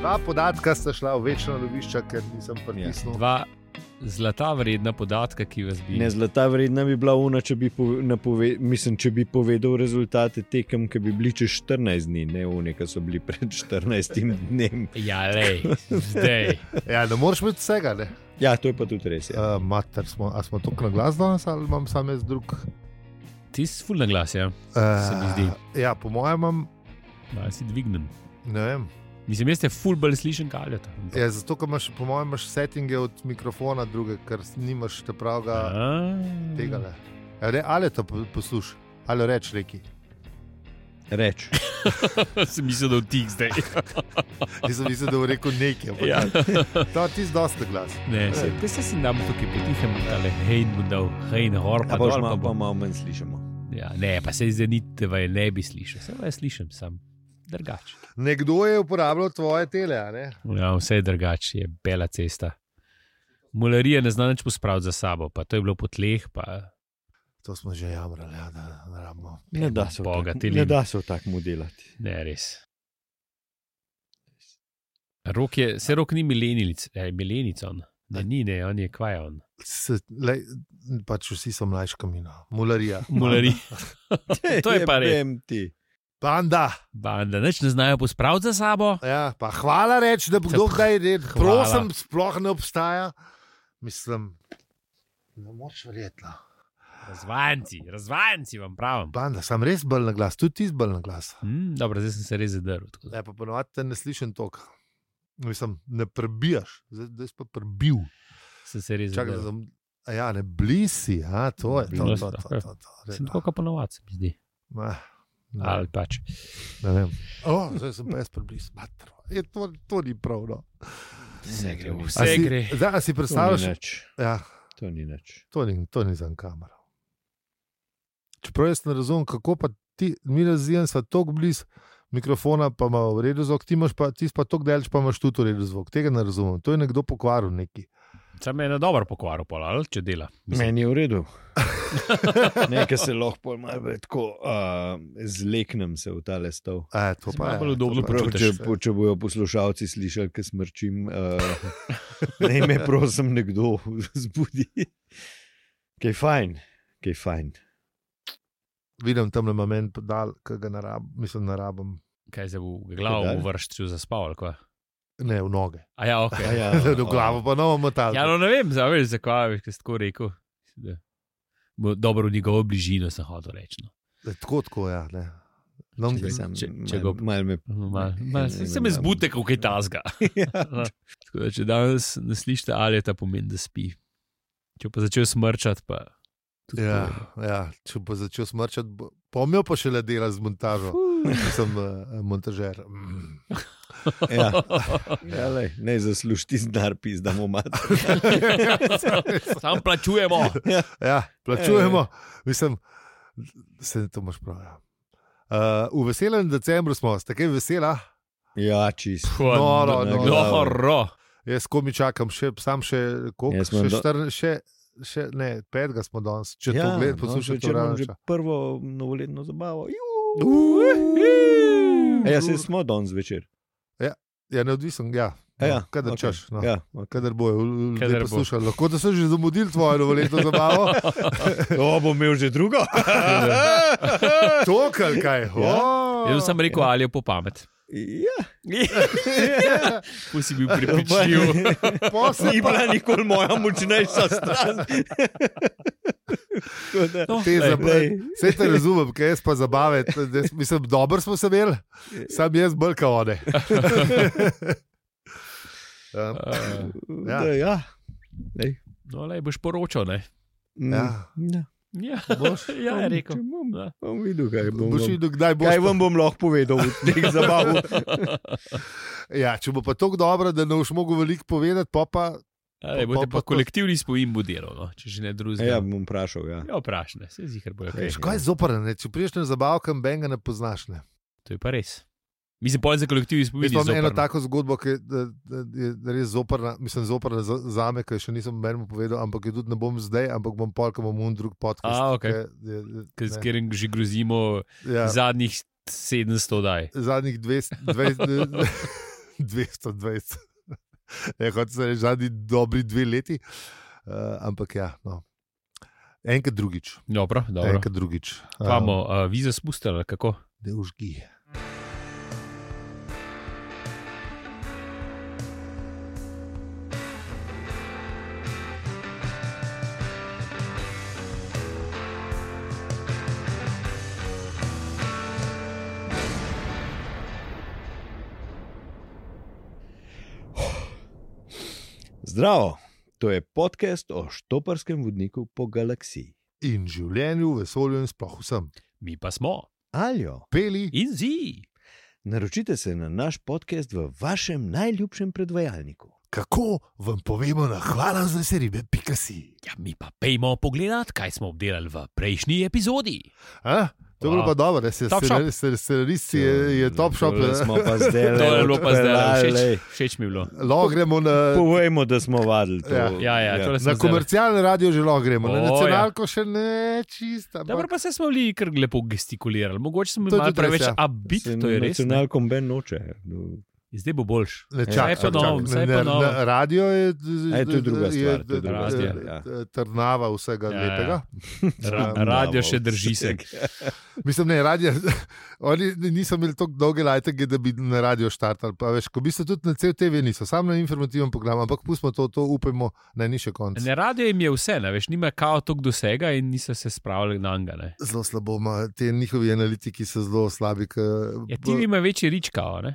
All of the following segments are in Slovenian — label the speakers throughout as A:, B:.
A: Dva podatka sta šla v večna lovišča, ker nisem pritisnil.
B: Dva zlata vredna podatka, ki vas bi.
C: Ne, zlata vredna bi bila una, če bi, pove, napove, mislim, če bi povedal rezultate tekem, ki bi bili čez 14 dni, ne une, ki so bili pred 14 dnem.
B: Ja, lej, zdaj.
A: Ja, ne moreš imeti vsega. Ne?
C: Ja, to je pa tudi res. Ja.
A: Uh, mater, smo, a smo tako na glas danes ali imam samo jaz drug? Eh,
B: Ti si fulna glas, ja. Se mi zdi.
A: Uh, ja, po mojem imam,
B: Malo si dvignem.
A: ne vem.
B: Mislim, jaz te ful bolj slišim, kaj je to.
A: Ja, zato, ker imaš, po mojem, imaš settinge od mikrofona druge, ker s- nimaš te pravega tega. Ne. Ja, re- Ali to po- poslušaj, ali reč reki.
C: Reč.
B: Sem mislil, da je tik zdaj.
A: Nisem mislil, da bo rekel nekaj. ampak
B: ja.
A: To ti zdosta glas.
B: Ne, se, te se si nam tukaj potihem, ali hej, mu dal, hej, hor,
C: Pa
B: pa
C: Ja, boš
B: dol, pa
C: malo, pa
B: bom.
C: malo manj slišimo.
B: Ja, ne, pa se zdaj ni, da je ne bi slišal, samo jaz slišim sam. Drugače.
A: Nekdo je uporabljal tvoje tele, a ne?
B: Ja, vse je drugače, je bela cesta. Mularija ne zna več pospraviti za sabo, pa to je bilo po tleh, pa
A: To smo že jamrali, ja, da ne rabimo.
C: Ne da se v
B: Boga,
C: tak-
B: ti
C: ne
B: lim.
C: da se v takmu delati.
B: ne res. Rok je, se rok ni milenilic, eh, milenic on. Ne, ni, ne, on je kvajon.
A: Se, lej, pač vsi so mlajši kamina, mularija.
B: Mularija. To je pa res.
C: Jebem ti.
A: Banda,
B: Banda, neč ne znajo pospraviti za sabo.
A: ja, pa hvala reči, da bo
B: Se
A: kdo
B: pa-
A: kdaj rekel.
B: hvala.
A: Prosim, sploh ne obstaja. Mislim, ne moreš verjeti. no.
B: Razvajanci, razvajanci vam pravim.
A: Banda, sem res bolj na glas, tudi ti si bolj na glas.
B: Mm, dobro, zdaj sem se res zadrl. tako da.
A: Ne, pa ponovadi te ne slišim tok. Mislim, ne prebijaš, zdaj zdaj si pa prebil.
B: Sem se res
A: Čakaj, da
B: zadrl.
A: sem. a Ja, ne blisi, a, to je to. to,
B: Blizu,
A: to, to, to, to,
B: no. Sem
A: to,
B: tako
A: to.
B: kot ponovadi, se mi zdi.
A: Ma, ne.
B: Ali pač.
A: Ne vem. O, zdaj sem pa jaz preblizu. Je to, to ni prav. No.
C: Vse gre v
A: A
B: Vse
A: si,
B: gre.
A: Zdaj a si
C: To
A: predstavljaš,
C: ni nič.
A: ja,
C: To ni nič.
A: to ni, to ni za kamero. Čeprav jaz ne razumem, kako pa ti, mi razvijem, smo tako blizu mikrofona, pa ima v redu zvok, ti imaš pa, ti si pa tako daleč, pa imaš tudi v redu zvok. Tega ne razumem. To je nekdo pokvaril neki.
B: Sam je na dobro pokvaril, pol, ali če dela. Mislim,
C: Meni je v redu. Nekaj se lahko pol malo bolj tako uh, zleknem se v ta lestov.
A: E, to
B: Se
A: pa
B: malo
A: je.
B: bolj
A: to
B: udobno
A: pa je. pač, e,
C: Prav,
B: počutiš
C: če, po- če bojo poslušalci slišali, kaj smrčim, uh, naj me prosim nekdo zbudi. Kaj je fajn, kaj je fajn.
A: Vidim tam na moment, podal, ki ga narab, mislim, narabim,
B: Kaj se bo v glavo
C: Kaj dal?
B: uvrščil za spav.
A: ne v noge.
B: A ja, ok.
C: A Ja,
A: Do glave pa novo motal.
B: Ja, no ne vem, zaveš, zakaj veš, kaj si tako rekel. Da. bo Dobro, v njegovo bližino sem hotel reči. No.
A: Tako, tako, ja. Ne. No,
C: Če, sem,
B: če-
C: če,
B: če
C: če
B: ga-
C: mal, mal me,
B: Mal, mal, se, se me
C: Ne, ne,
B: zbute, kako je tazga.
C: ja,
B: Tako da, če danes ne slišite, ali je ta pomeni, da spi. Če pa začel smrčati, pa. tudi
A: Ja,
B: to je.
C: no.
A: ja, če bo začel smrčati, bo- pomnil pa še le dela z montažo. Sem uh, montažer. Mm.
C: ja, ja, lej, ne zasluži ti znar, pizdamo mater.
B: Sam plačujemo.
A: ja, plačujemo. Mislim, se to imaš prav. Ja. Uh, v veselem decembru smo, ste kaj vesela?
C: Ja, čist.
A: Noro,
C: noro.
B: no, noro.
A: Jaz komi čakam, še, sam še koliko,
C: Jaz imam
A: še,
C: do-
A: štrn, še, še ne, petega smo danes, če ja, to
C: ja,
A: gledate,
C: no,
A: poslušate,
C: večer imam že
A: no,
C: prvo novoletno zabavo.
B: Uhuhu.
C: E, ja, se smo danes večer.
A: ja, neodvisen, ja,
C: E, ja,
A: kadar
C: okej,
A: okay. češ. No. Ja.
C: Ja, okay.
A: Kadar bojo
B: Kadar
A: ljudje
B: bo.
A: poslušali, lahko da so že zamudili tvojo novoletno zabavo.
C: O, bom imel že drugo. Ja,
A: To, kar kaj.
B: Jaz sem samo rekel, ali je po pamet.
C: ja,
B: Pusi bil pripričljiv.
A: Posebej
C: Ni bila nikoli moja močnejša stran. Tako da,
B: No,
A: te
B: lej.
A: zabave. Vse te razumem, kaj jaz pa zabave. t- da jaz- Mislim, dobro smo se imeli, sam jaz bolj kao ne.
B: Eh,
A: Ja.
C: da, ja. Lej.
B: No, le boš poročal, ne?
C: Mm,
A: Ja.
C: ja.
B: Ja,
C: Boš?
B: ja je rekel.
C: Če bom,
B: Ja.
C: bom videl, kaj bom.
A: Boš videl, kdaj boš.
C: Kaj vam bom lahko povedal v teh zabavah?
A: Ja, če bo pa tako dobro, da ne boš mogel veliko povedati, pa pa
B: Ali
A: Pa-
B: boste
A: pa-
B: pa
A: pa-
B: kolektivni spomin bo delal, no? če že ne drugega.
C: Ja, bom vprašal. Ja.
B: ja vprašaj, se zihar bojo. kaj.
C: Ej. ja.
A: Veš, kaj je zoprn, ne? če priješ na zabavkam, benga ne poznaš. Ne?
B: To je pa res. Mislim, pojdi za kolektivni spomin.
A: Jaz imam eno tako zgodbo, ki je, da, da, je res zoprna, mislim, zoprna za, za me, ki je še nisem menil povedal, ampak jo tudi ne bom zdaj, ampak bom pol, ko bom un drug podcast.
B: A, okej.
A: ki je- je-
B: s
A: ne.
B: katerim že grozimo
A: Ja.
B: ja. zadnjih 700 daj.
A: zadnjih 200, 20, 220. Ja, kot se reče, zadnji dobri dve leti. Uh, ampak ja, no. enkrat drugič,
B: Dobro, dobro.
A: enkrat ja. drugič. Eh,
B: Imamo uh, vize spustili, kako?
A: da užgi.
C: Zdravo, to je podcast o štoparskem vodniku po galaksiji.
A: In življenju, vesolju in sploh vsem.
B: Mi pa smo.
C: Aljo,
A: Peli,
B: In zi.
C: naročite se na naš podcast v vašem najljubšem predvajalniku.
A: kako vam povemo, na hvala za vse ribe, pika si.
B: Ja, mi pa pejmo pogledat, kaj smo obdelali v prejšnji epizodi.
A: A? To je bilo
B: Wow.
A: pa dobro, da se
B: Top shop.
A: scenaristi je, je top šop.
C: Tole Smo pa zdaj
B: To je bilo pa zdaj, všeč, všeč mi je bilo.
A: Lahko gremo na,
C: Povejmo, da smo vadili to.
A: Ja.
B: Ja, ja, tole
A: na
B: smo zdajle-
A: komercialni radio, že lahko gremo, na
B: O, ja.
A: nacionalko še ne čista.
B: Dobro, pa se smo bili kar lepo gestikulirali, mogoče smo
A: To je
B: bili malo
A: tudi res,
B: preveč
A: ja.
B: abit, to je res. ne.
C: Nacional komben noče. no.
B: Zdaj bo boljš.
A: Ne,
C: Ja,
A: čakaj,
C: zdaj pa
A: čakaj.
C: novo,
A: Ne,
B: zdaj pa
A: ne,
B: novo.
A: ne, radio je,
C: Ej, to je druga stvar, to je druga
A: eh,
B: stvar,
A: eh,
C: ja.
A: trnava vsega
B: Ja,
A: ja,
B: ja.
A: lepega.
B: Ra
A: Ja.
B: radio še drži se.
A: Mislim, ne, radio, oni niso imeli tako dolge lajtege, da bi na radio štartali. Pa, veš, ko bi se tudi na cel TV niso, sam na informativen program, ampak pustimo to, to upajmo, naj ni še konc.
B: Ne radio jim je vse, ne, veš, nima kao tok dosega in niso se spravili na njega.
A: Zelo slabo, ima, te njihovi analitiki so zelo slabi. K,
B: Ja, ti ima večji rič kao, ne?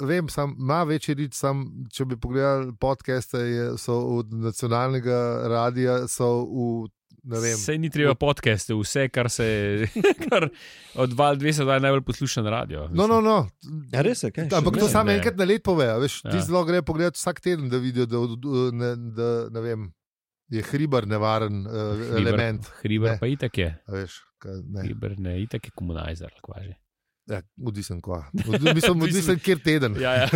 A: Vem, sam, ima večji rit, sam, če bi pogledali podcaste, je, so od nacionalnega radia, so v, ne vem,
B: Sej ni treba podcaste, vse, kar se kar od Val 2 se da najbolj posluša na radio.
A: No, no, no.
C: Ja, res je, kaj še?
A: Ampak to
B: mislim,
A: samo
B: da je.
A: enkrat na let povejo. Veš,
B: Ja.
A: ja. Ti zelo grejo pogledati vsak teden, da vidijo, da, od- eh, ne, da ne vem, je hribar nevaren uh,
B: Hriber-
A: element. Ne.
B: Hriber pa itak je.
A: a Veš, kaj, ne,
B: Hriber ne, itak je komunizer, kvaže.
A: ja, odvisen kva. Od- Mislim, odvisen kjer teden.
B: Ja, ja.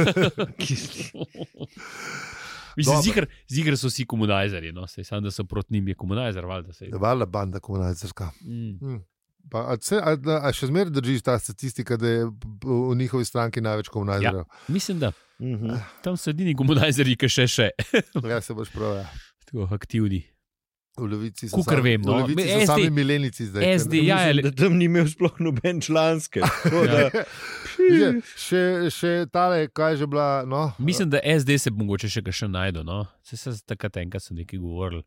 B: Mislim,
A: Dobro.
B: zihar, zihar so vsi komunizerji, no, sej sam, da so proti njim je komunizer, valjda se.
A: Vala banda komunalcerska.
B: Mm.
A: Pa, a, se, a, a- a še zmeraj drži ta statistika, da je v v njihovi stranki največ komunalcev?
B: Mislim, da
C: Mhm.
B: tam so edini komunizerji, ki še še
A: Ja. ja, se boš prav. Ja.
B: tako aktivni.
A: V levici so,
B: Kakor
A: sami-
B: vem, no.
A: v levici
B: SD
A: so sami milenici zdaj. ker-
B: SD, ja,
C: Mislim,
B: ali- Ja.
C: da tam ni imel sploh noben članske. tako da-
A: Že, še, še tale, kaj je že bila. No,
B: Mislim, da SD se mogoče še kaj še najde, no, se se takrat enkrat so neki govorili.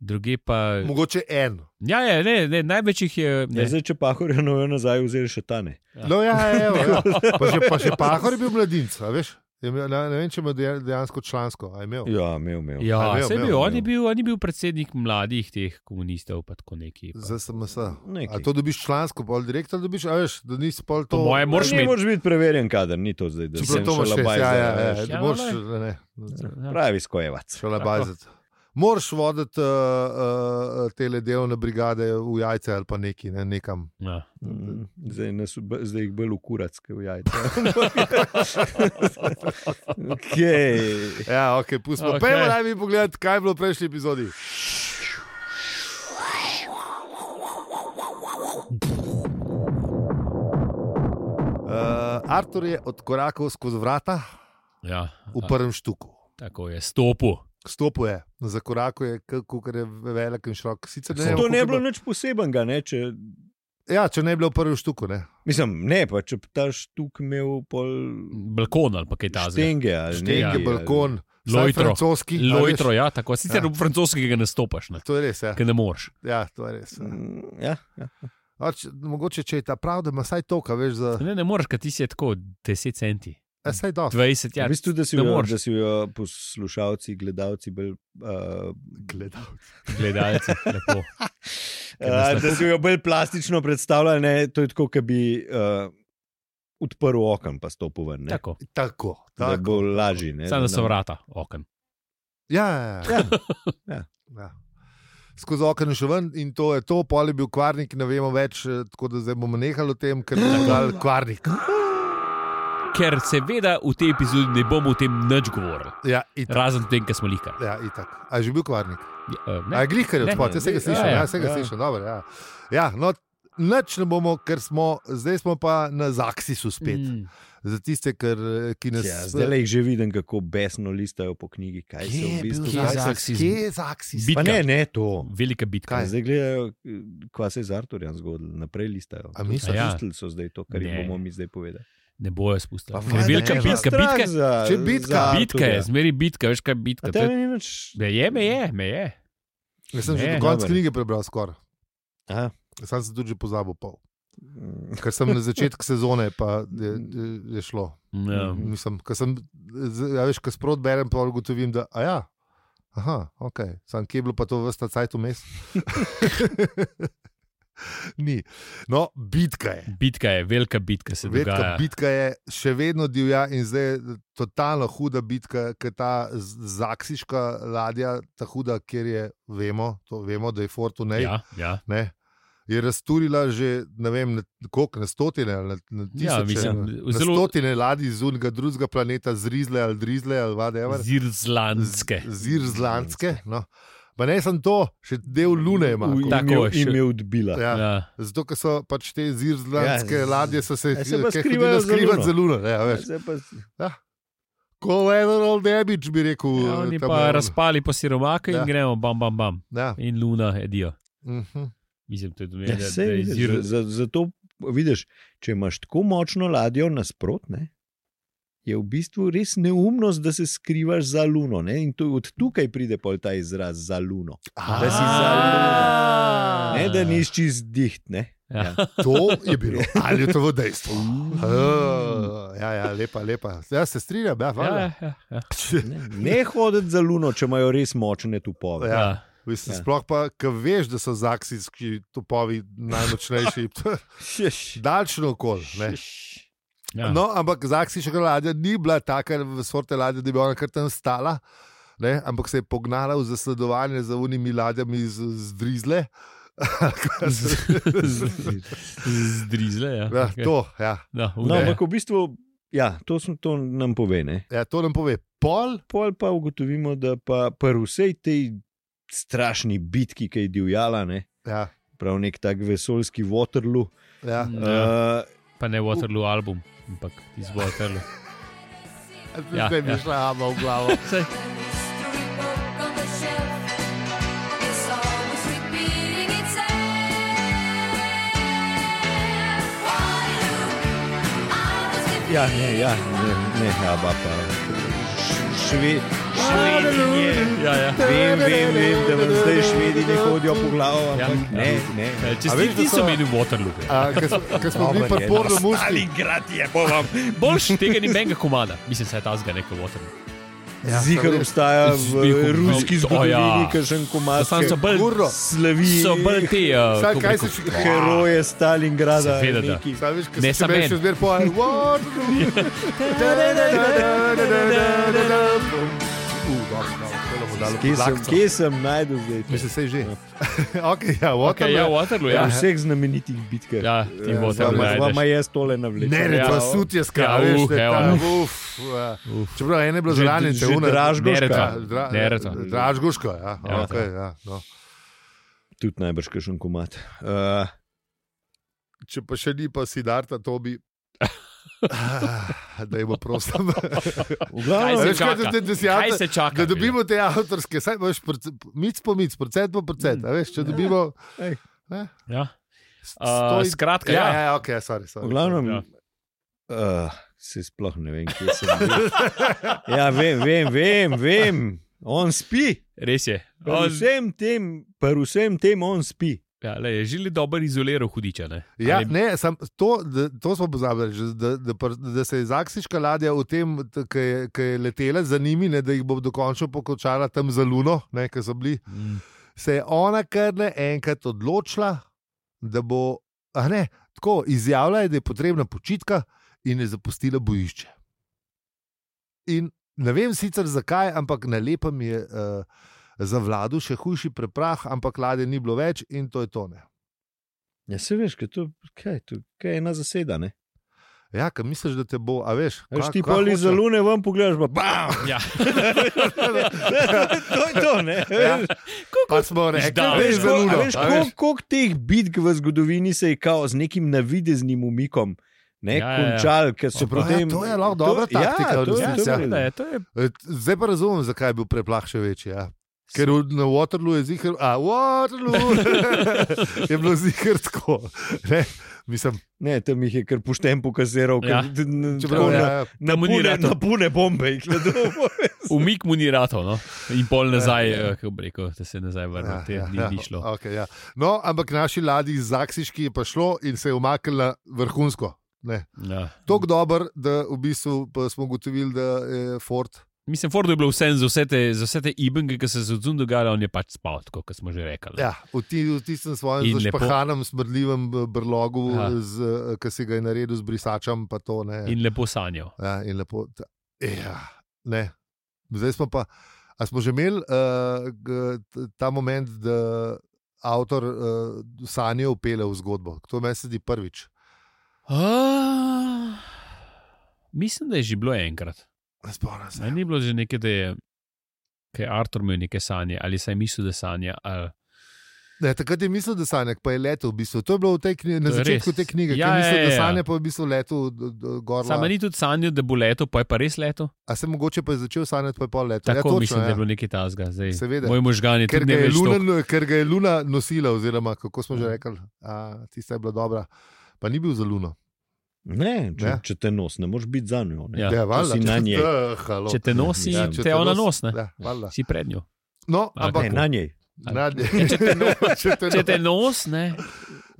B: Druge pa.
A: Mogoče en.
B: Ja, ja ne, ne, največ jih je.
C: Ja,
B: Ne.
C: zdaj, če pahorja nojo nazaj, vzeli še tane.
B: Ja.
A: No, ja, evo, ja. Pa še, pa še Pahor je bil mladinec, a veš? Je imel, ne, ne vem, če ima deja- dejansko člansko. a je Imel.
C: Ja, imel, imel.
B: Ja,
A: A, imel,
B: saj je
A: imel,
B: bil, on je
C: imel.
B: bil, on je bil predsednik mladih teh komunistov, pa tako neki. pa-
A: Za SMS.
C: Nekaj.
A: A to dobiš člansko, pol direktno dobiš, a veš, da nisi pol to.
B: Po mojem, moraš
C: Ne
B: imeti.
C: moreš biti preverjen, kader ni to zdaj, da
A: Čeprav
C: se
A: to moraš
C: šalabaj
A: šest, ja, ja,
C: zdaj,
A: ja,
C: veš.
A: ja,
B: Ja,
A: moraš,
B: lej.
A: ne, ne,
B: Ja.
C: Pravi skojevac.
A: šala bazet. Moraš voditi uh, uh, te delovne brigade v jajce ali pa neki, ne, nekam.
B: Ja.
C: Mm, Zdaj, nas, b- zdaj jih bolj ukurac, kot jajca. okay.
A: Ja, ok, pustimo.
B: Okej.
A: Okay. Pejmo naj mi pogledati, kaj je bilo v prejšnji epizodi. Uh, Artur je odkorakal skozi vrata
B: Ja,
A: v prvem štuku.
B: tako je, stopu.
A: Stopu je, zakorakal je, kako je velik in širok. Sicer ne, vem,
C: To
A: koliko
C: ne
A: je
C: bi bilo nič posebenega. Ne, če,
A: Ja, če ne bi bilo v prvem štuku, ne.
C: mislim, ne, pa če bi ta štuk imel pol
B: Balkon ali pa kaj takega.
C: stenge ali ja,
A: Štenge,
C: nekaj,
A: balkon, vsaj
B: Lojtro.
A: francoski. a
B: Lojtro,
A: veš.
B: ja, tako. Sicer
A: Ja.
B: ja. francoskega ne stopaš, ne,
A: To je res, ja.
B: ker ne moreš.
A: ja, to je res ja.
C: Mm, Ja, ja.
A: A Če, mogoče če je ta prav, da ima vsaj to, kar veš za.
B: Ne, ne moreš, ker ti si je tako 10 centi,
A: Ja, saj dosti.
B: 20
C: Ja,
B: ja,
C: v bistvu, da si
B: ne
C: jo,
B: moreš.
C: da si jo poslušalci, gledalci bolj. Uh,
A: Gledal.
B: gledalci. Lepo. Ker nas
C: Uh,
B: lahko-
C: da si jo bolj plastično predstavljali, ne, to je tako, da bi uh, odprl okno, pa stopil ven. ne.
B: Tako,
A: Tako,
C: Da
A: tako.
C: bo lažje. ne,
B: Samo da so
C: nam-
B: vrata, oken.
A: Ja, ja, ja.
C: Ja.
A: ja. Skozi okno še ven in to je to, pol je bil kvarnik, ne vemo več, eh, tako da zdaj bomo nehali o tem, ker je dal kvarnik.
B: Ker seveda v tej epizodi ne bomo o tem nič govorili,
A: Ja, itak.
B: razen o tem, kar smo lihkar.
A: Ja, itak. A je že bil kvarnik?
B: Ja, eh,
A: A
B: ne.
A: je glihkar
B: Ne.
A: od spod, jaz se ga
C: Ja,
A: slišim,
B: ja,
A: ja, se ga
C: ja.
A: slišim, dobro. Ja, ja no, Nič ne bomo, ker smo, zdaj smo pa na Zaksisu spet. Mm.
B: Mm.
A: Za tiste, ker, eh, ki nas
C: Ja, zdaj le jih že vidim, kako besno listajo po knjigi, kaj se v bistvu
B: Kje je
A: Zaksis?
B: Zaksis?
A: Kje je Zaksis?
B: Bi-
C: Pa ne, ne to.
B: Velika bitka.
A: Kaj?
C: Zdaj gledajo, eh, kva se je z Arturjem zgodilo, naprej listajo.
A: A misliš?
B: Ja.
C: Pustili so zdaj to, kar jim
B: Ne.
C: bomo mi zdaj povedali.
B: Ne bojo spustili.
A: Pa
B: Ker
A: valjda
B: Velika
A: ne,
B: bitka,
C: Strah
B: bitka,
C: za-
A: Če bitka-
C: za
B: bitka
C: Arturja.
B: je, zmeri bitka, veš kaj je
C: A
B: bitka. To
C: tebe
B: je-
C: ni nič-
B: Me je, me je, me je.
A: Jaz sem že
B: Ne,
A: do konca
C: dobro.
A: knjige prebral skoraj.
C: Aha.
A: Sam sem tudi že pozabil pol.
C: Mm,
A: Ker sem na začetku sezone pa je, je, je šlo.
B: Ja.
C: Mhm.
A: Mislim, ko sem, z- ja, veš, ko sprot berem, pa ugotovim, da a ja, aha, ok, sam kje je bilo pa to vrsta cajt vmes. Ni. No, bitka je.
B: Bitka je, velika bitka se
A: Velika
B: dogaja.
A: bitka je še vedno divja in zdaj je totalno huda bitka, ker ta z- zaksiška ladja, ta huda, kjer je, vemo, to vemo da je Fortunej, ja.
B: Ja, ja.
A: ne, je razturila že ne vem, na, koliko, na stotine ali na, na
B: Ja,
A: tisoče.
B: mislim,
A: Na
B: zelo
A: stotine ladij z unega drugega planeta, zrizle ali drizle ali vadever.
B: zirzlandske.
A: Zirzlandske. No. Pa ne sem to, še del lune ima.
C: v-
A: ko-
B: Tako,
C: Im je-
B: še-
C: im je odbila.
A: Ja.
B: Ja.
A: Zato, ker so pač te zirlandske
C: Ja,
A: ja,
C: z-
A: ladje so se,
C: Ja, se pa
A: ke
C: skrivajo
A: hodijo
C: za
A: skrivat
C: luno.
A: za luno. Ja, veš.
C: Zdaj pa-
A: Collateral damage bi rekel.
B: Ja, Oni
A: tam
B: pa
A: je-
B: razpali po siromaku in
A: Ja.
B: gremo, bam, bam, bam.
A: Ja.
B: In luna edijo.
A: mhm.
B: Mislim, to je
C: Ja,
B: domenjeno.
C: saj vidiš, za- za- Zato vidiš, če imaš tako močno ladjo nasprotne. Je v bistvu res neumnost, da se skrivaš za luno. Ne? In to, od tukaj pride pol ta izraz za luno. da si za
B: Ah.
C: Ne, da nisi čist diht. Ne?
B: Ja.
A: To je bilo, ali je to v dejstvu. Uh, ja, ja, lepa, lepa. Ja, se strinjam, ja,
B: Ja,
A: hvala.
B: ja, ja.
C: Ne, ne hoditi za luno, če imajo res močne tupove.
A: Ja.
B: Ja.
A: Mislim,
C: Ja.
A: ja. Sploh pa, ki veš, da so zaksijski topovi najmočnejši, daljšno okol. ne.
B: Ja.
A: No, ampak zaksijska ladja ni bila taka, v sorte ladje, da bi ona kar tam stala. Ne, ampak se je pognala v zasledovanje za unimi ladjami iz Zdrizle.
B: Zdrizle. Ja.
A: Ja,
B: Okay.
A: to, ja.
B: No,
C: No,
B: no,
C: ampak v bistvu, ja, to, smo, to nam pove. Ne?
A: Ja, to nam pove pol.
C: Pol pa ugotovimo, da pa pri vsej tej strašni bitki, ki je divjala, ne,
A: Ja,
C: prav nek tak vesoljski Waterloo,
A: ja.
C: ja.
B: pa ne Waterloo album, ampak iz Waterloo. Ja,
A: Zdaj mi
B: ja.
A: je šla ama v glavo.
B: Saj,
C: uh, ja, ne, ja, ne, ne aba pa. Šve, švedinje.
B: ja, ja.
C: Vem, vem, vem, da vam zdaj švedi ne hodijo po glavu,
B: Ja,
C: ampak
B: ja.
C: ne, ne.
B: Eh,
A: A
B: Če
A: veš,
B: si
A: da
B: ti
A: so-
B: so meni Waterloo. ja.
A: A, Ker smo- ker smo bili pa porno muški.
C: grad je po vam.
B: Boljš tega ni benga komada, mislim, saj ta zga neka Waterloo.
A: Ja,
C: Zihar
A: sem res.
C: obstaja v
B: Zihar,
C: ruski
B: to ja.
C: zgodovini, ki še en
B: Ja,
C: komad
B: Sam so bolj,
A: Kurro.
C: slavi.
B: so bolj te. Uh,
A: Saj,
B: kako bi
A: kaj
B: rekel,
A: se še
C: heroje Stalingrada.
B: Seveda, da.
C: neki.
A: Saj veš, kaj
B: Ne
A: se
B: samo
A: meni
B: en.
A: še zmeraj poje.
C: Kje sem, kje sem najdel zdaj? to?
A: Mislim, sej že. okay, ja,
B: Okay, ja,
A: Waterloo.
B: Waterloo,
C: Ja,
B: ja.
C: v vseh znamenitih bitkah.
B: Ja, ti
A: Ja,
B: Waterloo.
A: zdaj
C: Vama-
B: najdeš.
C: Vama jaz tole navlečem.
A: Ne, ne,
B: Ja,
A: pa sutje
B: ja,
A: skrajšuje.
B: uf, evo.
A: ja. Čeprav ena je bila
C: Že-
A: zranjena,
C: že Dražgoška.
A: Ja,
B: Neretva. Neretva.
A: Dražgoška, ja.
B: Ja,
A: Okay, ja no.
C: Tudi najbrž kakšen komat. Uh,
A: Če pa še ni, pa si darta, to bi. Ah, Da jim prosim.
C: v
B: Kaj se
C: glavnem,
A: Veš, kaj,
B: čaka?
A: da- da si
B: Kaj
A: avtor-
B: se čaka?
A: Da dobimo te avtorske, saj imaš mic po mic, procent po procent.
B: Mm.
A: a Veš, če dobimo.
B: Ja.
A: sto-
B: Uh,
A: sto-
B: skratka,
A: ja,
B: ja.
A: ja, ja, ok, sorry. sorry
C: v glavnem
B: Ja.
C: uh, se sploh ne vem, kje sem. bil. Ja, vem, vem, vem, vem. on spi.
B: Res je.
C: Pri vsem tem, pri vsem tem on spi.
B: Ja, le, je žili dober izoliral hudiča. Ne?
A: Ja,
B: Ali-
A: ne, sam, to, da, to smo pozabili, že, da, da, pr- da se je zaksiška ladja v tem, ki je, ki je letela za njimi, ne, da jih bo dokončno pokočala tam za luno, ne, ki so bili.
B: Mm.
A: Se je ona kar naenkrat odločila, da bo, a ne, tako izjavila je, da je potrebna počitka in je zapustila bojišče. In ne vem sicer zakaj, ampak na lepem je uh, zavladal še hujši preprah, ampak ladje ni bilo več in to je tone.
C: Ja, se veš, kaj je to, kaj, je to, kaj je ena zaseda. Ne?
A: Ja, ker misliš, da te bo, a veš.
C: Veš,
A: ka-
C: ti
A: ka
C: poli
A: hoče-
C: za lune ven pogledaš, pa bam!
B: Ja.
C: to je to, ne?
A: Ja,
C: Veš,
A: pa smo rekli, da
B: izdal,
A: je
C: Veš,
A: za
C: kol- a
A: luno.
C: veš,
A: a veš.
C: kol- koliko teh bitk v zgodovini se je kao z nekim navideznim umikom ne,
B: Ja,
C: ja,
B: ja, ja.
C: končal, ker so
A: Ja,
C: potem.
A: to je lahko dobra taktika, v
C: Ja, to je,
A: resnici,
C: to
A: ja.
C: je,
B: Da je, to je
A: E, Zdaj pa razumem, zakaj je bil preplah še večji. Ja. Ker v- na Waterloo je zihar, a Waterloo je bilo zihar tako. Ne, mislim,
C: Ne, tam jih je kar pošten pokaziral,
B: Ja.
C: ja.
A: čeprav
C: na,
A: ja,
C: na,
B: mu ni
C: pune,
B: ratalo.
C: na pune bombe. jih je dal.
B: umik mu ni ratov, no? in pol nazaj,
A: Ja, ja.
B: eh, kako bi rekel, da se je nazaj vrne, te dni ni šlo.
A: Okay, ja. No, ampak naši ladji z Zaksiški je pa šlo in se je umaknila vrhunsko.
B: Ja.
A: Tako dober, da v bistvu pa smo ugotovili, da je Ford.
B: Mislim, Fordu je bilo vse za vse te, za vse te ibenke, ki so se odzun dogajale, on je pač spal, tako kot smo že rekli.
A: Ja, v, ti, v tistem
B: In
A: svojem
B: lepo-
A: špahanem, smrdljivem eh, brlogu,
B: Ja.
A: z, eh, ki si ga je naredil z brisačem, pa to ne.
B: In lepo sanjal.
A: Ja, in lepo. ta- Ja, ne. Zdaj smo pa. A smo že imeli uh, g- t- ta moment, da avtor uh, sanje upele v zgodbo? To meni se zdi prvič.
B: Ah, Mislim, da je že bilo enkrat.
A: Ne Spomnim se.
B: Saj ni bilo že nekaj, da je, da je Artur imel neke sanje, ali saj mislil, da sanja. Ali...
A: Ne, takrat je mislil, da sanje, pa je letel v bistvu. To je bilo v tej knjigi, na
B: To je
A: začetku
B: res.
A: te knjige, ki
B: Ja,
A: je mislil,
B: ja,
A: da
B: ja.
A: sanje, pa je v bistvu letel d- d- gor.
B: Sama
A: la-
B: ni tudi sanjal, da bo leto, pa je pa res leto.
A: A se mogoče pa je začel sanjati, pa je pa letel.
B: Tako
A: ja, točno,
B: mislim,
A: ja.
B: da je bilo nekaj tasga. Zdaj,
A: Seveda.
B: Moj možgan je
A: Ker
B: tudi
A: ga,
B: ne Ja.
A: je
B: več
A: Luna, no,
B: tako.
A: ker ga je Luna nosila, oziroma kako smo že rekli, a, tista je bila dobra, pa ni bil za Luno.
C: Ne, če,
A: Ja.
C: ja. če te nos, ne moreš biti za njo. Ne?
B: Ja.
A: Ja,
C: če si
A: valjda.
C: na njej.
A: Eh, halo.
B: Če te nosi,
A: Ja,
B: ja,
A: če
B: te ona
A: nos-
B: nos, ne?
A: Ja, valjda.
B: Si prednjo.
A: no,
B: A,
A: ampak
C: Ne, na njej.
A: na dne.
B: Ja, če te no- Če te nos, ne?
A: no-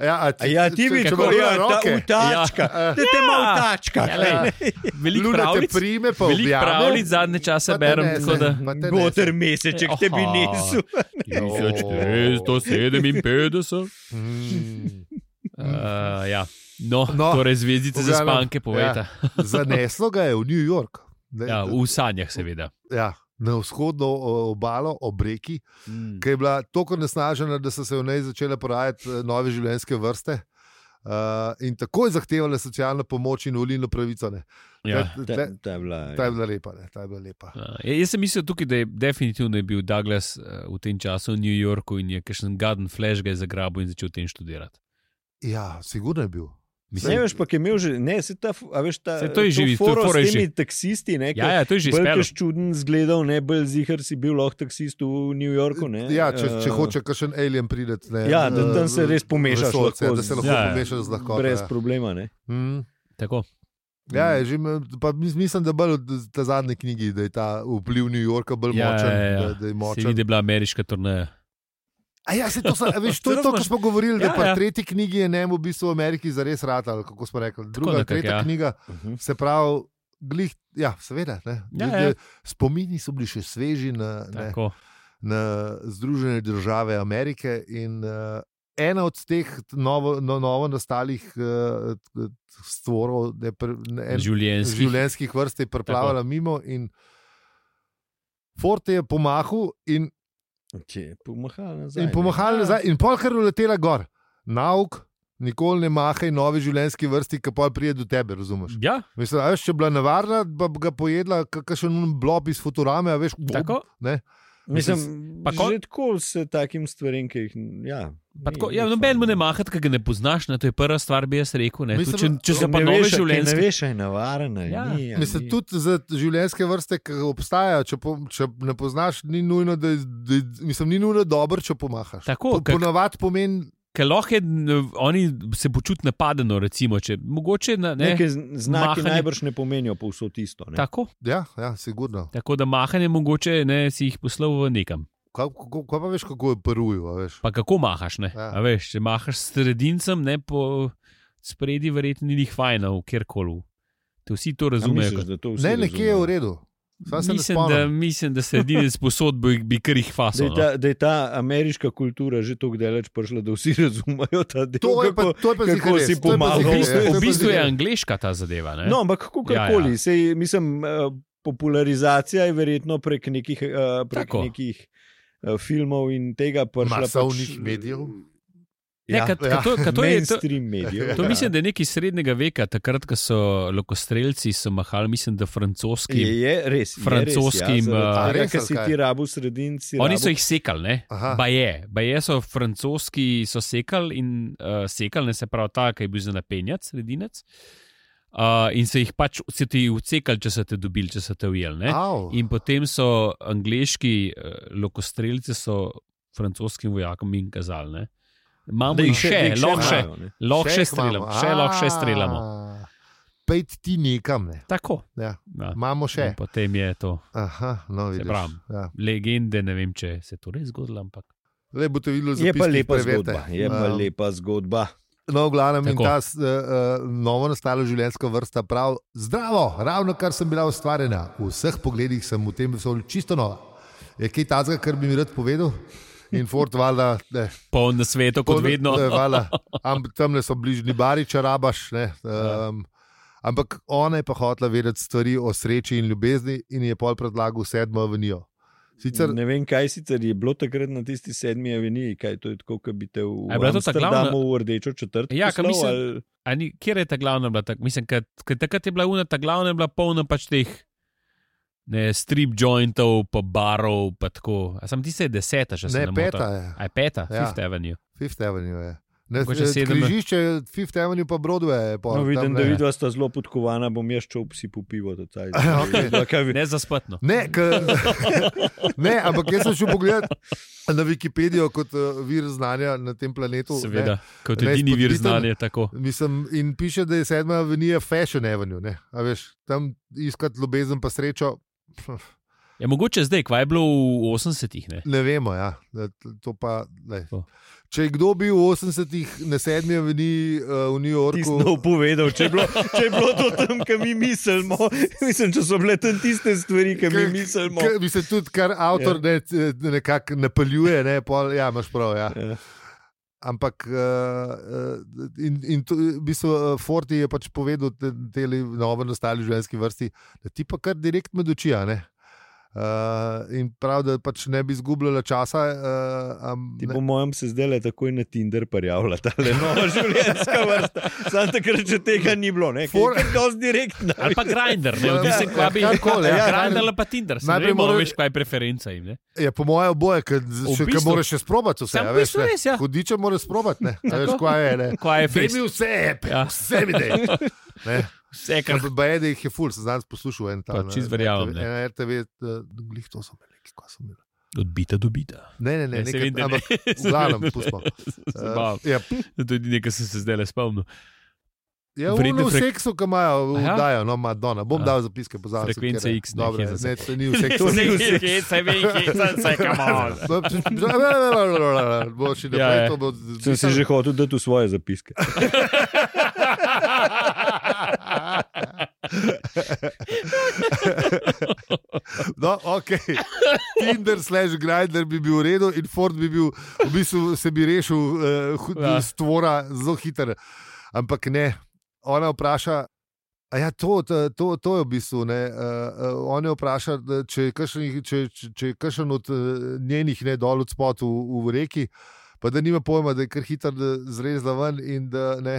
A: Ja, a
C: A
A: ti,
C: ja, ti vidiš,
A: če
C: kako
A: kako
C: je
A: ja,
C: ta
A: roke.
C: utačka.
A: Ja. Eh,
C: Ja. Te te ima utačka.
B: Ja,
C: glej.
B: lej, Veliko
A: Luna te
B: pravlic,
A: prime, pa
B: veliko
A: objame.
B: pravlic zadnje čase
A: Pa te
B: berem,
A: nese,
B: tako da-
A: pa te nese.
C: Goter meseček te bi
B: Aha.
C: nesel.
B: 1457.
A: Mm,
B: Uh, ja. no,
A: No,
B: no, torej zvezdice za
A: glavnem,
B: spanke, povejte.
A: Zaneslo ga je v New York. Ne,
B: Ja, v sanjah, seveda.
A: ja, na vzhodno o, obalo, ob reki, ki je bila tako nesnažena, da so se v njej začele porajati eh, nove življenjske vrste. Uh, in takoj zahtevali socialno pomoč in volilno pravico. Ne.
B: Ja.
A: Ta, ta,
C: Ta- ta je bila,
A: ta je
C: ja.
A: bila lepa. Ne, ta je bila lepa.
B: Uh, jaz sem mislil tukaj, da je definitivno je bil Douglas uh, v tem času v New Yorku in je kakšen garden flash ga je zagrabil in začel tem študirati.
A: Ja, sigurno je bil.
C: Ne veš, pa je imel že, ne, se ta, a veš, ta,
B: Saj to je
C: to
B: že vid- to je
C: foro
B: fora je
C: s temi taksisti, ne,
B: Ja, ja, to je že
C: Bolj
B: spelo.
C: kaš čuden zgledal, ne bolj zihar si bil lahko taksist v New Yorku. Ne?
A: Ja, če, če
C: Eh,
A: hoče kakšen alien priti, ne.
C: Ja, da tam se res pomešaš.
A: Vesolce, da se lahko
B: Ja, ja.
A: ja, pomešaš z lahkoto.
C: Brez
A: ja.
C: problema. Ne?
A: Mm.
B: Tako.
A: Ja,
B: Mhm.
A: je, že, me- pa mis- mislim, da bolj od te zadnje knjige, da je ta vpliv New Yorka bolj
B: Ja,
A: močen.
B: ja, ja.
A: Da, da je
B: Se
A: močen.
B: vidi, da je bila ameriška turneja.
A: A Ja, se to, sa- a veš, to je
B: Zelo
A: to,
B: smo-
A: kar smo govorili, da
B: Ja,
A: pa
B: ja.
A: v tretji knjigi je ne v bistvu v Ameriki zares rata, ali kako smo rekli. Druga,
B: nekako,
A: nekak, tretja
B: ja.
A: ja. knjiga,
C: Mhm.
A: se pravi, glih, ja, seveda. Ne,
B: Ja,
A: Ljudje-
B: ja.
A: Spomini so bili še sveži na, ne,
B: Tako.
A: na Združene države Amerike. In, uh, ena od teh novo, no, novo nastalih uh, stvorov, ne, pre, ne, en,
B: Življenjski.
A: življenjskih vrst je preplavala Tako. mimo. in Fort je pomahal in,
C: Če pomahal nazaj.
A: in
C: ne.
A: pomahal
C: Ja.
A: nazaj, in polkar uletela gor. Nauk, nikoli ne mahaj nove življenjske vrsti, ki pa pride do tebe, razumeš?
B: Ja,
A: Mislim, a veš, če je bila nevarna, pa bi ga pojedla kakšen blob iz Futurame, a veš,
B: tako.
C: Mislim,
B: Pa kon-
C: že tako se takim stvarem, ki jih. Ja,
B: Pa tako, ja, noben mu ne mahati, ki ga ne poznaš, ne, to je prva stvar, bi jaz rekel. Ne,
A: Mislim,
B: Mislim, če, če so pa
C: ne
B: nove
C: veš, a kaj Ne
B: življenjske.
C: veš, a je navaren ali
B: Ja.
C: ni. ali
A: Mislim,
C: ni.
A: tudi za življenjske vrste, ki obstajajo, če, po, če ne poznaš, ni nujno, da, da, mislim, ni nujno dobro, če pomahaš.
B: Tako,
A: Po-
B: kak-
A: Ponavadi pomeni,
B: Ker lahko je, n- oni se počutijo napadeno, recimo, če mogoče na, ne.
C: Neke z- znaki
B: Mahanje.
C: najbrž ne pomenijo povsod isto. Ne?
B: Tako,
A: ja, ja sigurno.
B: tako da mahanje mogoče ne si jih poslal v nekam.
A: Kaj, kako, kaj pa veš, kako je perujo?
B: Pa kako mahaš, ne?
A: Ja.
B: Ja. Veš, če mahaš s sredincem, ne po spredi, verjetno ni jih fajna v kjerkoli. Te vsi to
A: Ja,
C: A
B: razumejo.
C: misliš,
B: kot-
C: da to vsi
A: Ne, nekje je
C: razumejo?
A: v redu. Sam se
B: Mislim,
A: ne
B: da,
A: spomnim.
B: mislim, da se edini sposod bi, bi kar jih
C: Da
B: fasal.
C: je,
B: No.
C: ta, da je ta ameriška kultura že tako daleč prišla, da vsi razumejo ta del.
A: To je pa,
C: kako-
A: to je pa
C: kako
A: zihar res,
C: si
A: to je pa
C: pomagal.
A: zihar
B: V
A: res, to je pa
B: bistvu, v bistvu je
A: zihar res.
B: angliška ta zadeva. Ne?
C: No, ampak kako
B: Ja,
C: koli,
B: ja.
C: ja, ja. mislim, eh, popularizacija je verjetno prek nekih, eh, prek
B: Tako.
C: nekih eh, filmov in tega prišla.
A: Masovnih medijev.
B: Ne,
A: Ja,
B: kad,
A: ja.
B: kad to, kad to je, to,
C: mainstream medijev. ja.
B: to mislim, da je nekaj srednjega veka, takrat, ko so lokostrelci so mahali, mislim, da
C: Je,
B: francoskim.
C: je res. ja,
B: francoskim, eh,
A: a,
C: Reka,
A: res
C: ki
A: ali
C: si
A: kaj?
C: ti rabu sredinci.
B: Oni so jih sekali, ne?
A: Aha.
B: Baje, baje so francoski so sekali in uh, sekali, ne se pravi ta, ki je bil za napenjac, sredinec. Uh, in se jih pač se ti ucekali, če so te dobili, če so te ujeli. ne.
A: Au.
B: In potem so angliški uh, lokostrelci so francoskim vojakom in kazali. Ne? Imamo jih še, lahko še, lahko še
A: jih
B: streljamo,
A: imamo.
B: še lahko še streljamo.
A: A, Pejt ti nekam, ne.
B: Tako.
A: Ja.
B: Ja.
A: imamo še.
B: In potem je to
A: Aha, no, vidiš.
B: pravim.
A: Ja.
B: legende, ne vem, če se je to res zgodilo, ampak
A: Le boste videli,
C: Je pa
A: zapisnik
C: lepa
A: prevete.
C: zgodba. Je pa
A: Um,
C: lepa zgodba.
A: No, v glavnem in
B: Tako.
A: ta uh, novo nastala življenjska vrsta prav zdravo, ravno kar sem bila ustvarjena. V vseh pogledih sem v tem vesolju čisto nova. Je kaj tazga, kar bi mi rad povedal? In Fort Valda, ne,
B: poln na svetu, kot vedno.
A: Valda, am, tam so bližnji bari, če rabaš. Ne, um, ampak ona je pa hotela vedeti stvari o sreči in ljubezni in ji je pol predlagal sedmo avenijo. Sicer
C: Ne vem, kaj sicer je bilo takrat na tisti sedmi aveniji, kaj to je tako, kot bi te v
B: A je bila to ta
C: Amsterdamu
B: glavna-
C: v rdečo četrt.
B: Ja, kaj
C: poslal,
B: mislim-
C: ali-
B: A ni- Kjer je ta glavna bila? Tak, mislim, kad, kad, takrat je bila una, ta glavna je bila polna pač teh ne, strip jointov, pa barov, pa tako. A sem ti se je deseta, še se
A: ne,
B: ne
A: peta je.
B: A je peta,
A: Ja.
B: ja. Fifth Avenue.
A: Fifth Avenue je. Ne,
B: Mogoče
A: eh,
B: sedem-
A: križišče, Fifth Avenue pa Broadway. je pol,
C: No, vidim,
A: tam,
C: da
A: ne.
C: vidva sta zelo podkovana, bom jaz šel psi popivo. Taj,
A: Okej.
C: okay.
B: Ne za spatno.
A: Ne, k, ne, ampak jaz sem šel pogledat na Wikipedijo kot eh, vir znanja na tem planetu.
B: Seveda, kot
A: Ne,
B: edini vir
A: spodbiten.
B: znanja, tako.
A: Ne. Mislim, in piše, da je sedma avenija Fashion Avenue. Ne, a veš, tam iskati ljubezen pa srečo.
B: Je Ja, mogoče zdaj, kva je bilo v 80-ih, ne?
A: Ne vemo, ja. da t- to pa. lej.
B: To.
A: Če je kdo bil v 80-ih na sedmi aveniji uh, v New Yorku,
C: Tisno povedal, če je, bilo, če je bilo to tam, kar mi mislimo. Mislim, če so bile tam tiste stvari, ki mi mislimo.
A: K- Mislim, tudi kar avtor
B: Ja.
A: ne, c- nekako napeljuje, ne, pol, ja, imaš prav. Ja.
C: Ja.
A: Ampak, uh, in, in to, v bistvu, eh, Forti je pač povedal, te, te novo nastali življenjski vrsti, da ti pa kar direkt med oči. a ne. Uh, in prav, da pač ne bi izgubljala časa. Uh, um,
C: Ti po mojem se zdaj le takoj na Tinder prijavlja ta le nova življenjska vrsta. Sam takrat, če tega ni bilo, ne.
A: For-
C: Ker je dosti direktno.
B: Ali pa grinder, ne?
A: Ja,
B: Odvisen, kva bi.
A: ja, karkoli, ja.
B: Grinder ali pa Tinder, se ne
A: Najprej
B: vemo,
A: mora-
B: veš, kaj je preferenca jim, ne?
A: je po mojem oboje, ker še- ker
B: bistvu-
A: moraš še sprobati vse.
B: Samo
A: a
B: v
A: veš,
B: bistvu
A: ne.
B: res, ja.
A: Hudiče moraš sprobati, ne a veš, kaj je. Ne.
B: Kva je
A: Dej mi
B: fest,
A: vse, epe,
B: Ja.
A: vse mi dej. Ne.
B: vse, kar
A: Ker baje, da jih je ful, sem danes poslušal en
B: Pa
A: tam.
B: čisto verjamem, ne.
A: En RTV, glih to sem imel, kaj sem imel.
B: odbita dobita.
A: Ne, ne, ne,
B: Ja,
A: ne
B: saj vem, da
A: nekaj,
B: ne.
A: ampak v
B: Saj
A: glavnem,
B: vem, da ne.
A: pustimo.
B: Zabav.
A: Eh, ja,
B: To je nekaj, kar sem se zdaj le spomnil.
A: Ja,
B: Vredne
A: v
B: frek-
A: seksu, ki imajo,
B: Aha.
A: vdajo, no, Madonna. Bom
B: Aha.
A: dal zapiske, pozabil. sem,
B: Frekvence
A: katere.
B: X, ne,
A: Dobre,
B: hecam se.
A: ne, to ni Ja, v seksu.
C: To ni v
B: vse, vse vem, kje sem, vse kamor.
A: Bo še
B: Ja,
A: naprej
B: ja.
A: to bo.
C: Sem si že hotel dati v svoje zapiske.
A: No, ok. Tinder, slash Grindr bi bil v redu, in Ford bi bil, v bistvu se bi rešil uh,
B: Ja.
A: ja. stvora zelo hiter. Ampak ne, ona vpraša. A ja, to, to, to, to je v bistvu. Ne, uh, on je vprašal, da če je kakšen- če- če- če je kakšen od eh, njenih ne dol od spod v, v reki, pa da nima pojma, da je kar hiter da zrezla ven in da, ne,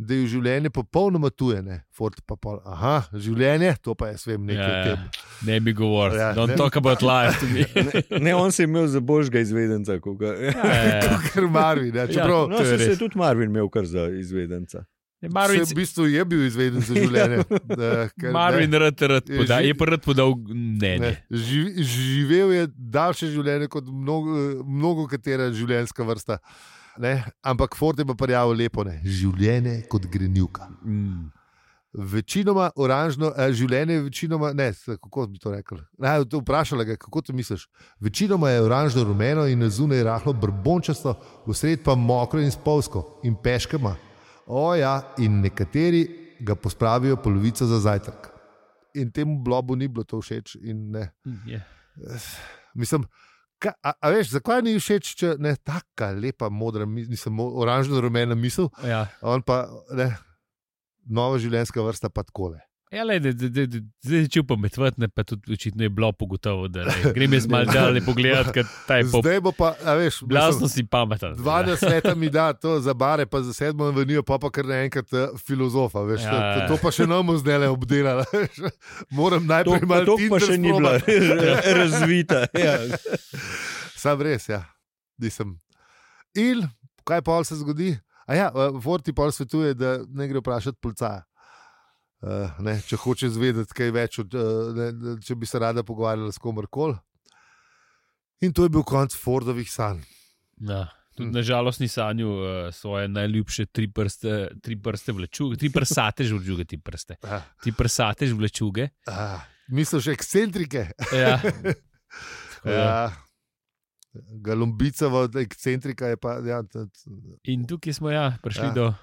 A: da je življenje popolnoma tuje. Ne, Ford pa pol. Aha, življenje, to pa jaz vem nekaj o
B: Ja,
A: tem.
B: ja. Ne bi govoril,
A: Ja,
B: ja, don't
A: ne. Ja,
B: ne. talk about life to me.
C: Ne, on se je imel za božga izvedenca. ko Ga...
B: Eh,
A: Ker Marvin, ne, čeprav
C: No,
B: to je
C: saj se je
B: res.
C: tudi Marvin imel kar za izvedenca.
A: Marvin
B: Marvin,
A: v bistvu je bil izveden za življenje. da, ker,
B: Marvin
A: no. ne,
B: rad, rad
A: Je
B: poda,
A: že-
B: je pa rad podal
A: ne,
B: mnenje.
A: živ- živel je daljše življenje kot mnogo, mnogo katera življenjska vrsta. Ne? Ampak Ford je pa prijavil lepo, ne? življenje kot grenivka.
B: Mm.
A: Večinoma oranžno, eh, življenje je večinoma, ne, s- kako bi to rekel. Naj, to vprašala ga, je, kako to misliš. Večinoma je oranžno rumeno in zunaj rahlo brbončasto, vsred pa mokro in spolsko in peškama. O ja, in nekateri ga pospravijo polovico za zajtrk. In temu blobu ni bilo to všeč. in ne.
B: Yeah.
A: Mislim, ka, a, a veš, zakaj ni všeč, če ne tako lepa, modra, mi- mislim, oranžno rumena misel,
B: Ja.
A: on pa ne, nova življenjska vrsta pa takole.
B: Ja, le, da, da, da, da, zdaj začel pametovati, ne, pa tudi očitno je bilo pogotovo, da ne. grem jaz malo dalje pogledati, kaj ta je pop.
A: Ja. Zdaj bo pa, a veš,
B: Blasno si pameten.
C: ja.
A: 12 let mi da to za bare, pa za sedmo venijo, pa pa kar naenkrat eh, filozofa. Veš, ja,
B: Ja, ja.
A: to, to pa še nam zdaj le obdelala. veš. Moram
C: To,
A: najprej Ja, malo
C: to pa še ni bila
A: sprobat.
C: razvita. Ja.
A: Sam res, ja, nisem. In kaj pa se zgodi? A ja, Forti pa svetuje, da ne gre vprašati policaja. Uh, ne, če hoče izvedeti kaj več, od, uh, ne, ne, če bi se rada pogovarjala s komerkoli. In to je bil konc Fordovih sanj.
B: Ja. Tudi
A: Hm.
B: na žalost ni sanjal uh, svoje najljubše tri prste, tri prste vlečuge, tri prsate žvečuge, ti prste.
A: Ah,
B: Ti prsate žvečuge.
A: ah, misliš, ekscentrike?
B: Ja. Tako da-
A: Ja. Galumbica, ekscentrika je pa. Ja, t- t-
B: In tukaj smo ja, prišli
A: Ja.
B: ja. do.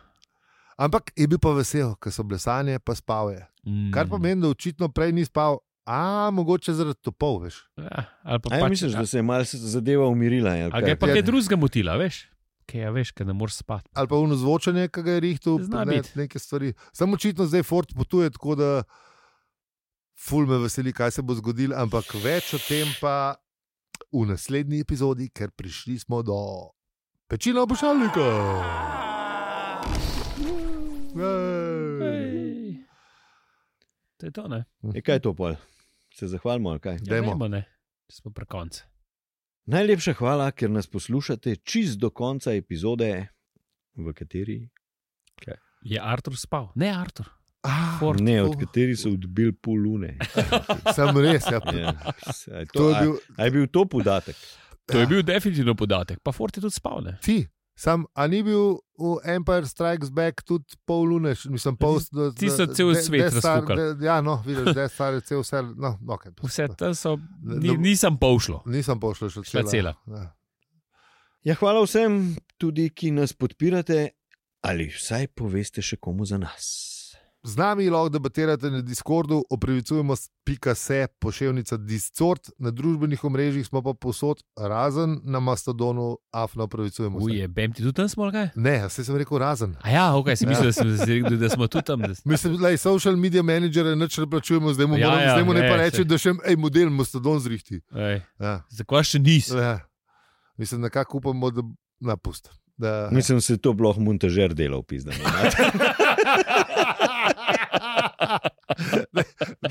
A: ampak je bil pa vesel, ker so blesanje, pa spal je.
B: Mm,
A: Kar pomeni, da očitno prej ni spal, a mogoče zaradi topov, veš.
B: Ja, ali pa
C: A Ja, misliš, da se je malce zadeva umirila? ali
B: A
C: kaj?
B: ga je pa
A: Ja.
B: kaj drugega motila, veš? Kaj ja, veš, ker ne moreš spati.
A: Ali pa unozvočenje, ki ga je rihtel,
B: Zna
A: ne,
B: biti.
A: neke stvari. Samo očitno zdaj Ford potuje, tako da ful me veseli, kaj se bo zgodilo, ampak več o tem pa v naslednji epizodi, ker prišli smo do pečila obošalnika. Ej.
B: Ej. To je to, ne?
C: Je kaj je to pol? Se zahvalimo. ali Kaj?
B: Ja,
A: Dajmo.
B: dajmo, ne? Če smo pri koncu.
C: Najlepša hvala, ker nas poslušate čist do konca epizode, v kateri,
B: Je Artur spal? Ne, Artur.
A: Ah,
B: Ford.
C: ne, od
A: oh,
C: kateri so odbili pol lune.
A: Sem res, ja.
C: Ja, a je to,
A: To je
C: bil...
A: bil
C: a, a je bil to podatek?
B: To
A: Ja.
B: je bil definitivno podatek, pa Fort je tudi spal, ne?
A: ti. Sam, a ni bil v Empire Strikes Back tudi pol lune, še- mislim, pol svet.
B: ti so cel svet razfukali.
A: Ja, no, vidiš, da je star, cel vse. No, okay.
B: Vse to so,
A: Ne,
B: ni,
A: ne-
B: nisem pa ušlo.
A: Nisem pošel še
B: Šla
A: cela.
B: cela.
A: Ja.
C: Ja, hvala vsem, tudi ki nas podpirate, ali vsaj poveste še komu za nas.
A: Z nami lahko debatirate na Discordu, opravičujemo se, pika se, pošiljka Discord, na družbenih omrežjih smo pa posod, razen na Mastodonu, afna opravičujemo. se.
B: Uje, bem ti tudi tam smo, ali kaj?
A: Ne, se sem rekel razen.
B: A ja, ok, si mislil, da, sem, rekel, da smo tudi tam. Da,
A: Mislim, da je social media menedžer, neč ne plačujemo, zdaj mu, ja,
B: Ja,
A: moram,
B: ja,
A: ja, zdaj mu ne,
B: ne,
A: ne pa
B: saj.
A: reči, da še en model Mastodon zrihti.
B: ej,
A: Ja.
B: zakaj še nisi?
A: Ja. Mislim, nekako upamo, da napust. Da...
C: Mislim, da se je to bloh montažer delal, pizda.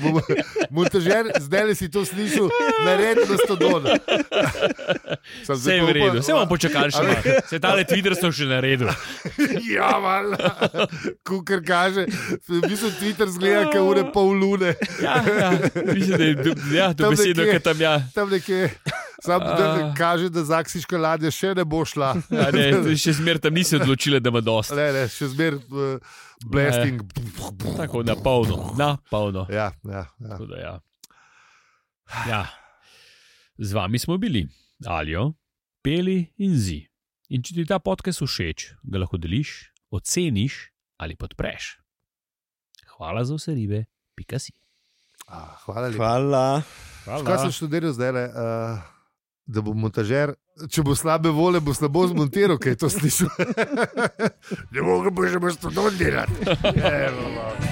A: Bomo- Montažer, zdaj le si to slišal, naredi Mastodon.
B: Vse je v redu, vse bomo počakali
A: A
B: še malo. Se ta let Twitter so še naredili.
A: Ja, malo, kukar kaže. V bistvu Twitter zgleda, kot ure pol lune,
B: Ja, ja, mislim, da je do, ja,
A: Tam
B: dobesedno,
A: nekje.
B: ker tam ja.
A: tam nekje. Sam
B: A.
A: da kaže, da zaksiška ladja še ne bo šla.
B: Ja, ne, še zmeraj tam nisi odločila, da ima dosti.
A: Ne, ne, še zmeraj uh, blasting.
B: Tako na polno, na polno.
A: Ja, ja, ja.
B: Tako da Ja. Ja. Z vami smo bili, alijo, peli in zi. In če ti ta podcast všeč, ga lahko deliš, oceniš ali podpreš. Hvala za vse ribe, pika si.
A: Ah, hvala lepa.
C: Hvala.
A: Kaj sem študiral zdaj? Le, uh, da bo montažer, če bo slabe vole, bo slabo zmontiral, kaj je to slišal. ne mogo bo že boš to delati. Evo, malo.